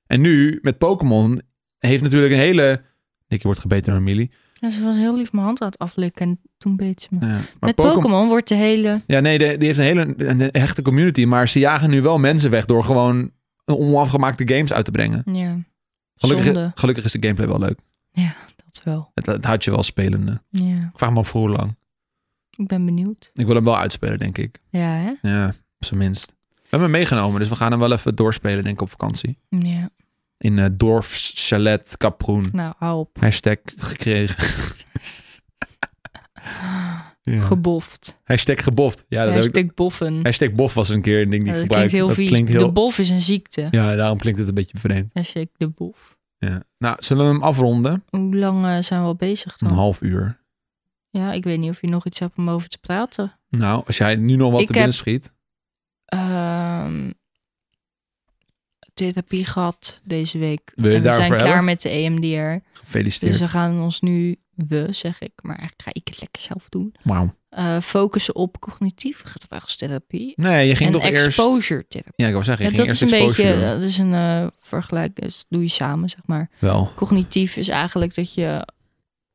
En nu, met Pokémon, heeft natuurlijk een hele... Nicky wordt gebeten door Emily.
Ja, ze was heel lief mijn hand aan het aflikken en toen beet ze me.
Ja, maar
Met Pokémon wordt de hele...
Ja, nee, de- die heeft een hele een hechte community. Maar ze jagen nu wel mensen weg door gewoon onafgemaakte games uit te brengen.
Ja,
Gelukkig,
zonde.
gelukkig is de gameplay wel leuk.
Dat wel.
Het, het houdt je wel spelende.
Ja,
Ik vraag me af voor hoe lang.
ik ben benieuwd.
Ik wil hem wel uitspelen, denk ik.
Ja, hè?
Ja, op zijn minst. We hebben hem meegenomen, dus we gaan hem wel even doorspelen, denk ik, op vakantie.
Ja.
In eh Dorf, Chalet, Kaproen.
Nou, hou op.
Hashtag gekregen. Ja.
Geboft.
Hashtag geboft. Ja, dat
Hashtag
heb ik.
boffen.
Hashtag bof was een keer een ding die
Ja,
ik
dat
gebruik.
klinkt heel vies.
klinkt
De bof is een ziekte.
Ja, daarom klinkt het een beetje vreemd.
Hashtag de bof.
Ja. Nou, zullen we hem afronden?
Hoe lang eh, zijn we al bezig
Een
dan?
half uur.
Ja, ik weet niet of je nog iets hebt om over te praten.
Nou, als jij nu nog wat
Ik
te binnen
heb-
schiet.
Ehm, therapie gehad deze week.
Wil je
en we zijn
daarover
klaar
hebben?
met de E EMDR.
Gefeliciteerd.
Dus we gaan ons nu, we zeg ik, maar eigenlijk ga ik het lekker zelf doen.
Wauw.
eh, focussen op cognitieve gedragstherapie.
Nee, je ging
en
toch eerst...
exposure therapie.
Ja, ik wou zeggen, je
Ja,
ging
dat is
eerst
een
exposure
beetje, eh,
doen.
dat is een eh vergelijk, dus doe je samen zeg maar.
Wel.
cognitief is eigenlijk dat je,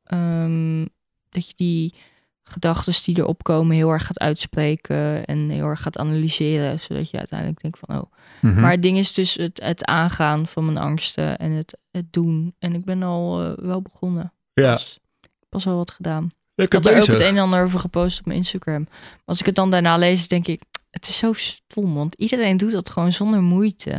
ehm, dat je die gedachten die erop komen heel erg gaat uitspreken en heel erg gaat analyseren, zodat je uiteindelijk denkt van oh.
Mhm.
Maar het ding is dus het, het aangaan van mijn angsten en het, het doen. En ik ben al eh, wel begonnen.
ja,
Pas, pas al wat gedaan. Ik
lekker
had er ook
bezig.
het e- een en ander over gepost op mijn Instagram. Maar als ik het dan daarna lees, denk ik, het is zo stom, want iedereen doet dat gewoon zonder moeite.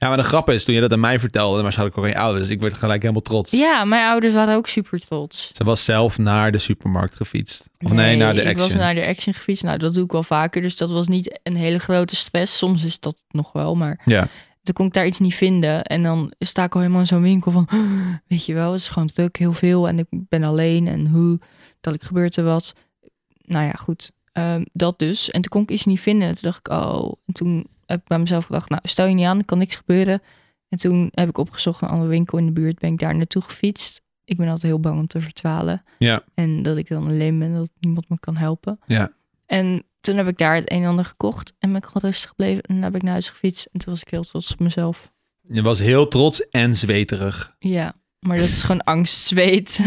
Ja, maar de grap is, toen je dat aan mij vertelde, dan was ik ook aan je ouders. Ik werd gelijk helemaal trots.
Ja, mijn ouders waren ook super trots.
Ze was zelf naar de supermarkt gefietst. Of nee, naar de
ik was
action.
naar de action gefietst. Nou, dat doe ik wel vaker. Dus dat was niet een hele grote stress. Soms is dat nog wel, maar...
Ja.
Toen kon ik daar iets niet vinden. En dan sta ik al helemaal in zo'n winkel van... Weet je wel, het is gewoon druk, heel veel. En ik ben alleen en hoe, dat ik gebeurt er wat. Nou ja, goed. Ehm, dat dus. En toen kon ik iets niet vinden. Toen dacht ik, oh... En toen heb ik bij mezelf gedacht, nou, stel je niet aan, er kan niks gebeuren. En toen heb ik opgezocht een andere winkel in de buurt. Ben ik daar naartoe gefietst. Ik ben altijd heel bang om te verdwalen.
Ja.
En dat ik dan alleen ben, dat niemand me kan helpen.
Ja.
En toen heb ik daar het een en ander gekocht. En ben ik gewoon rustig gebleven. En dan heb ik naar huis gefietst. En toen was ik heel trots op mezelf.
Je was heel trots en zweterig.
Ja, maar dat is gewoon angst, zweet.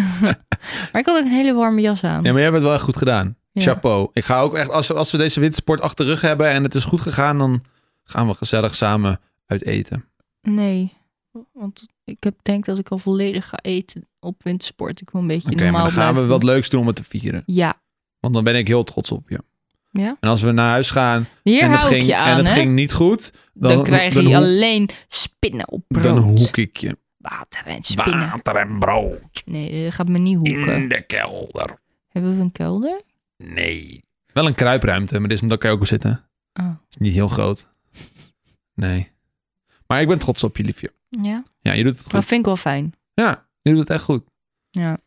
maar ik had ook een hele warme jas aan.
Ja, maar jij hebt het wel echt goed gedaan.
Ja.
Chapeau. Ik ga ook echt, als we, als we deze wintersport achter de rug hebben en het is goed gegaan, dan gaan we gezellig samen uit eten.
Nee, want ik heb, denk dat ik al volledig ga eten op wintersport. Ik wil een beetje
Oké, maar
normaal
dan gaan we
blijven.
wat leuks doen om het te vieren.
Ja,
Want dan ben ik heel trots op je.
Ja?
En als we naar huis gaan
hier
en het,
hou ik
ging,
je aan,
en het
hè.
ging niet goed,
dan,
dan,
krijg
dan
je
hoek-
alleen spinnen op brood.
Dan hoek ik je.
Water en spinnen.
Water en brood
Nee, dat gaat me niet hoeken.
in de kelder.
Hebben we een kelder?
Nee. Wel een kruipruimte, maar dit is, daar kan je ook op zitten.
Oh,
Het is niet heel groot. Nee. Maar ik ben trots op je, liefje.
ja.
Ja, je doet het
Dat
goed.
vind ik wel fijn.
Ja, je doet het echt goed.
Ja.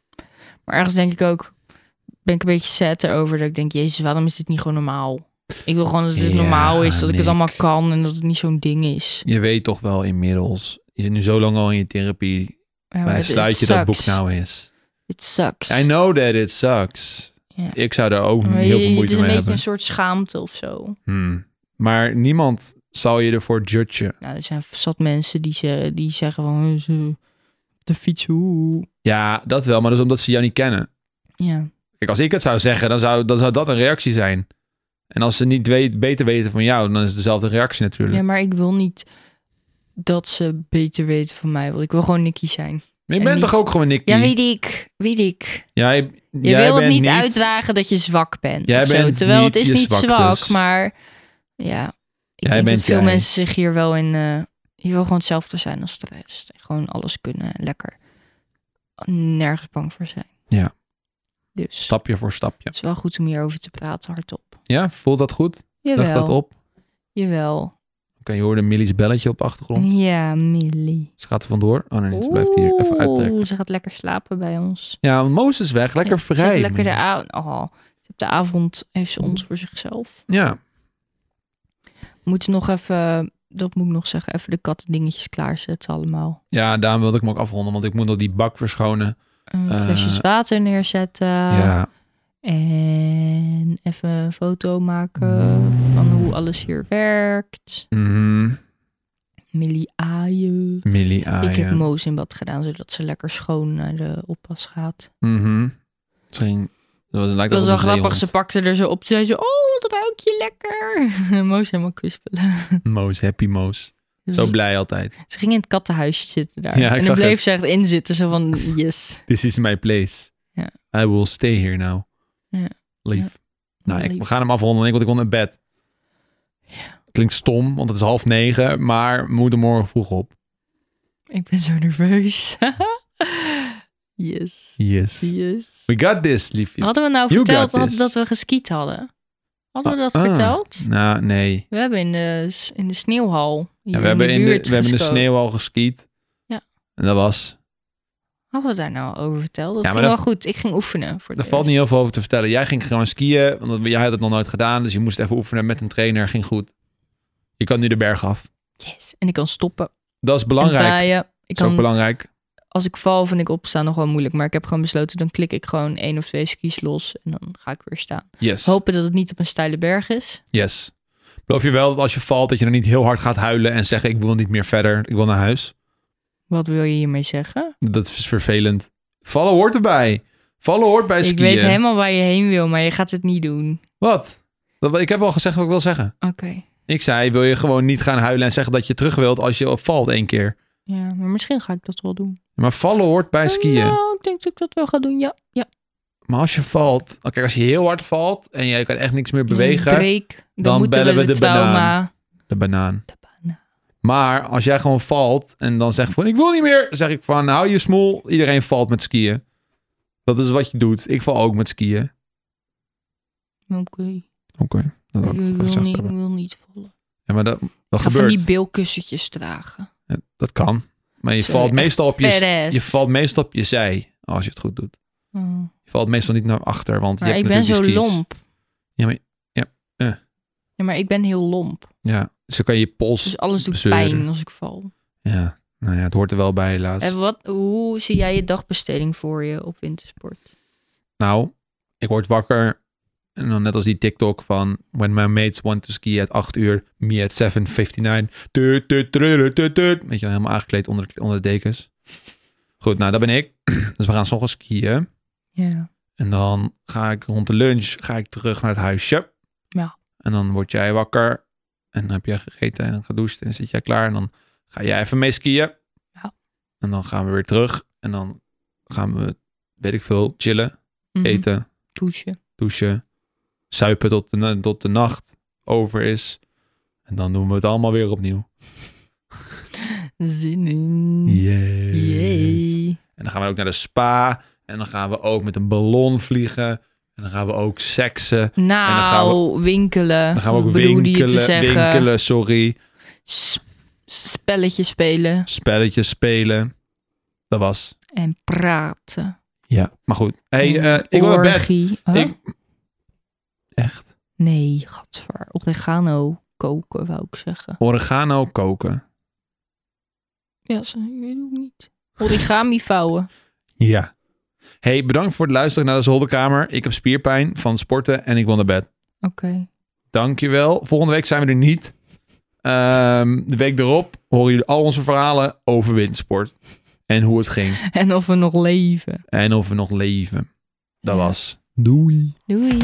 Maar ergens denk ik ook, ben ik een beetje sad erover dat ik denk, jezus, waarom is dit niet gewoon normaal? Ik wil gewoon dat dit
Ja,
normaal is, dat ik het
Nick.
allemaal kan en dat het niet zo'n ding is.
Je weet toch wel inmiddels, je zit nu zo lang al in je therapie,
Ja, maar
waar
dat-
sluit
it
je dat boek
sucks.
nou eens.
It sucks.
I know that it sucks.
Ja.
Ik zou daar ook
Maar
heel
je-
veel
Het
moeite
is een
mee
beetje
hebben.
een soort schaamte of zo.
Hmm. Maar niemand zal je ervoor judgen.
Nou, er zijn zat mensen die, ze, die zeggen van, "Eh, ze- op de fiets, hoe.
Ja, dat wel, maar dat is omdat ze jou niet kennen.
Ja.
Kijk, als ik het zou zeggen, dan zou, dan zou dat een reactie zijn. En als ze niet weet, beter weten van jou, dan is het dezelfde reactie natuurlijk.
ja, maar ik wil niet dat ze beter weten van mij, want ik wil gewoon Nicky zijn.
maar je
en
bent
niet-
toch ook gewoon Nicky?
Ja, weet ik. Weet ik.
jij,
Je
jij
wil het
bent
niet, uitdragen dat je zwak bent.
Jij
of zo.
bent
Terwijl
niet
het is
je
niet
zwaktes.
zwak, maar ja. Ik
Jij
denk
bent
dat veel
jij.
mensen zich hier wel in... eh, je wil gewoon hetzelfde zijn als de rest. Gewoon alles kunnen en lekker nergens bang voor zijn.
Ja.
Dus
Stapje voor stapje.
het is wel goed om hierover te praten hardop.
Ja, voelt dat goed?
Jawel.
Leg dat op. Oké,
Jawel.
je hoorde Millie's belletje op de achtergrond.
Ja, Millie.
Ze gaat er vandoor. Oh nee, ze blijft hier even uittrekken.
Oeh, ze gaat lekker slapen bij ons.
Ja, want Moos is weg. Lekker
Ja, ze heeft
vrij.
Lekker de avond. Oh, op de avond heeft ze ons voor zichzelf.
Ja,
We moeten nog even, dat moet ik nog zeggen, even de katten dingetjes klaarzetten allemaal.
ja, daarom wilde ik hem ook afronden, want ik moet nog die bak verschonen.
En wat
Eh,
flesjes water neerzetten.
ja,
En even een foto maken
Mm.
van hoe alles hier werkt.
mhm.
Millie aaien.
Millie aaien.
ik heb Moos in bad gedaan, zodat ze lekker schoon naar de oppas gaat.
Mhm. Misschien. Dat was, lijkt
Dat was
wel
wel
een
grappig. Ze
zeehond.
pakte er zo op. Ze zei zo, oh, wat ruik je lekker. Moos helemaal kwispelen. Dus
Moos, happy Moos.
Mm.
Zo blij altijd.
Ze ging in het kattenhuisje zitten daar.
Ja, ik
en
zag
dan bleef ze echt in zitten. Zo van, yes.
This is my place.
Ja.
I will stay here now.
Ja.
Lief. Nou,
Heel
ik, we
lief.
gaan hem afronden, denk ik, want ik wil naar bed. Klinkt stom, want het is half negen, maar we moeten morgen vroeg op.
Ik ben zo nerveus. yes.
Yes.
Yes.
We got this, liefje.
Hadden we nou
You got
verteld
this.
dat, dat we geskiet hadden? Hadden we dat
Ah,
verteld?
Nou, nee.
We hebben in de, s- in de sneeuwhal. hier
Ja, we hebben, in de,
buurt
we hebben in de
geschoten.
sneeuw al geskiet.
Ja.
En dat was...
Hadden we daar nou over verteld? Dat
Ja, maar
ging
dat-
wel goed. Ik ging oefenen. Voor
Daar
het
valt niet
eerst.
heel veel over te vertellen. Jij ging gewoon skiën, want dat- jij had het nog nooit gedaan. Dus je moest even oefenen met een trainer. Ging goed. Je kan nu de berg af.
Yes. En ik kan stoppen.
Dat is
En
belangrijk.
draaien. Ik
Dat is ook
kan
belangrijk.
als ik val, vind ik opstaan nog wel moeilijk. Maar ik heb gewoon besloten, dan klik ik gewoon één of twee skis los. En dan ga ik weer staan.
Yes.
Hopen dat het niet op een steile berg is.
Yes. Beloof je wel dat als je valt, dat je dan niet heel hard gaat huilen en zeggen: Ik wil niet meer verder, ik wil naar huis.
Wat wil je hiermee zeggen?
Dat is vervelend. Vallen hoort erbij. Vallen hoort bij skiën.
Ik weet helemaal waar je heen wil, maar je gaat het niet doen.
Wat? Dat, ik heb al gezegd wat ik wil zeggen.
Oké.
Ik zei: Wil je gewoon niet gaan huilen en zeggen dat je terug wilt als je valt één keer?
Ja, maar misschien ga ik dat wel doen.
Maar vallen hoort bij skiën.
Nou, ik denk dat ik dat wel ga doen, ja. ja.
Maar als je valt, kijk, als je heel hard valt en je kan echt niks meer bewegen,
Een break. Dan,
dan
moeten
bellen we
we de,
de
trauma.
banaan. de banaan.
De banaan.
Maar als jij gewoon valt en dan zegt van ik wil niet meer, zeg ik van hou je smoel, iedereen valt met skiën. Dat is wat je doet. Ik val ook met skiën.
Oké.
Oké. Dat wou Oh,
Ik
ik even
wil
gezegd
niet, ik
hebben.
wil niet vallen.
Ja, maar dat, dat
Ik ga van
gebeurt.
die bilkussentjes dragen.
Ja, Dat kan. Maar je
Sorry,
valt
echt
meestal op je,
Perez.
je valt meestal op je zij als je het goed doet.
Oh.
Je valt meestal niet naar achter, want je
Maar
hebt
ik ben
natuurlijk
zo
die skis.
lomp.
Ja, maar- ja, eh.
Ja, maar ik ben heel lomp.
Ja, dus dan kan je je pols
Dus alles doet
bezeuren.
pijn als ik val.
Ja, nou ja, het hoort er wel bij helaas.
En wat, hoe zie jij je dagbesteding voor je op wintersport?
Nou, ik word wakker. En dan net als die TikTok van... When my mates want to ski at 8 uur, me at 7.59. Tut, tut, trullu, tut, tut. Weet je, wel, helemaal aangekleed onder, de- onder de dekens. Goed, nou, dat ben ik. Dus we gaan 's ochtends skiën.
Ja.
En dan ga ik rond de lunch ga ik terug naar het huisje.
Ja.
En dan word jij wakker. En dan heb jij gegeten en gedoucht en zit jij klaar. En dan ga jij even mee skiën.
Ja.
En dan gaan we weer terug. En dan gaan we, weet ik veel, chillen, eten
Mhm. Douchen.
douchen, zuipen tot de, na- tot de nacht over is. En dan doen we het allemaal weer opnieuw.
Zin in.
Yes.
Yay.
En dan gaan we ook naar de spa. En dan gaan we ook met een ballon vliegen. En dan gaan we ook seksen. En dan gaan
Nou, winkelen.
Dan gaan we ook
Bedoelde je te
winkelen,
zeggen.
winkelen, sorry.
S- spelletje spelen.
Spelletjes spelen. Dat was.
En praten.
Ja, maar goed. Hey,
En
eh, ik wil naar bed.
orgie. Huh?
Ik... Echt.
Nee, gadver. Oregano koken, wou ik zeggen.
Oregano koken.
Ja, zo- ik weet ook niet. Origami vouwen.
Ja. Hey, bedankt voor het luisteren naar de zolderkamer. Ik heb spierpijn van sporten en ik wil naar bed.
Oké.
Dankjewel. Volgende week zijn we er niet. Ehm, de week erop horen jullie al onze verhalen over wintersport. En hoe het ging.
En of we nog leven.
En of we nog leven. Dat
Ja.
was. Doei.
Doei.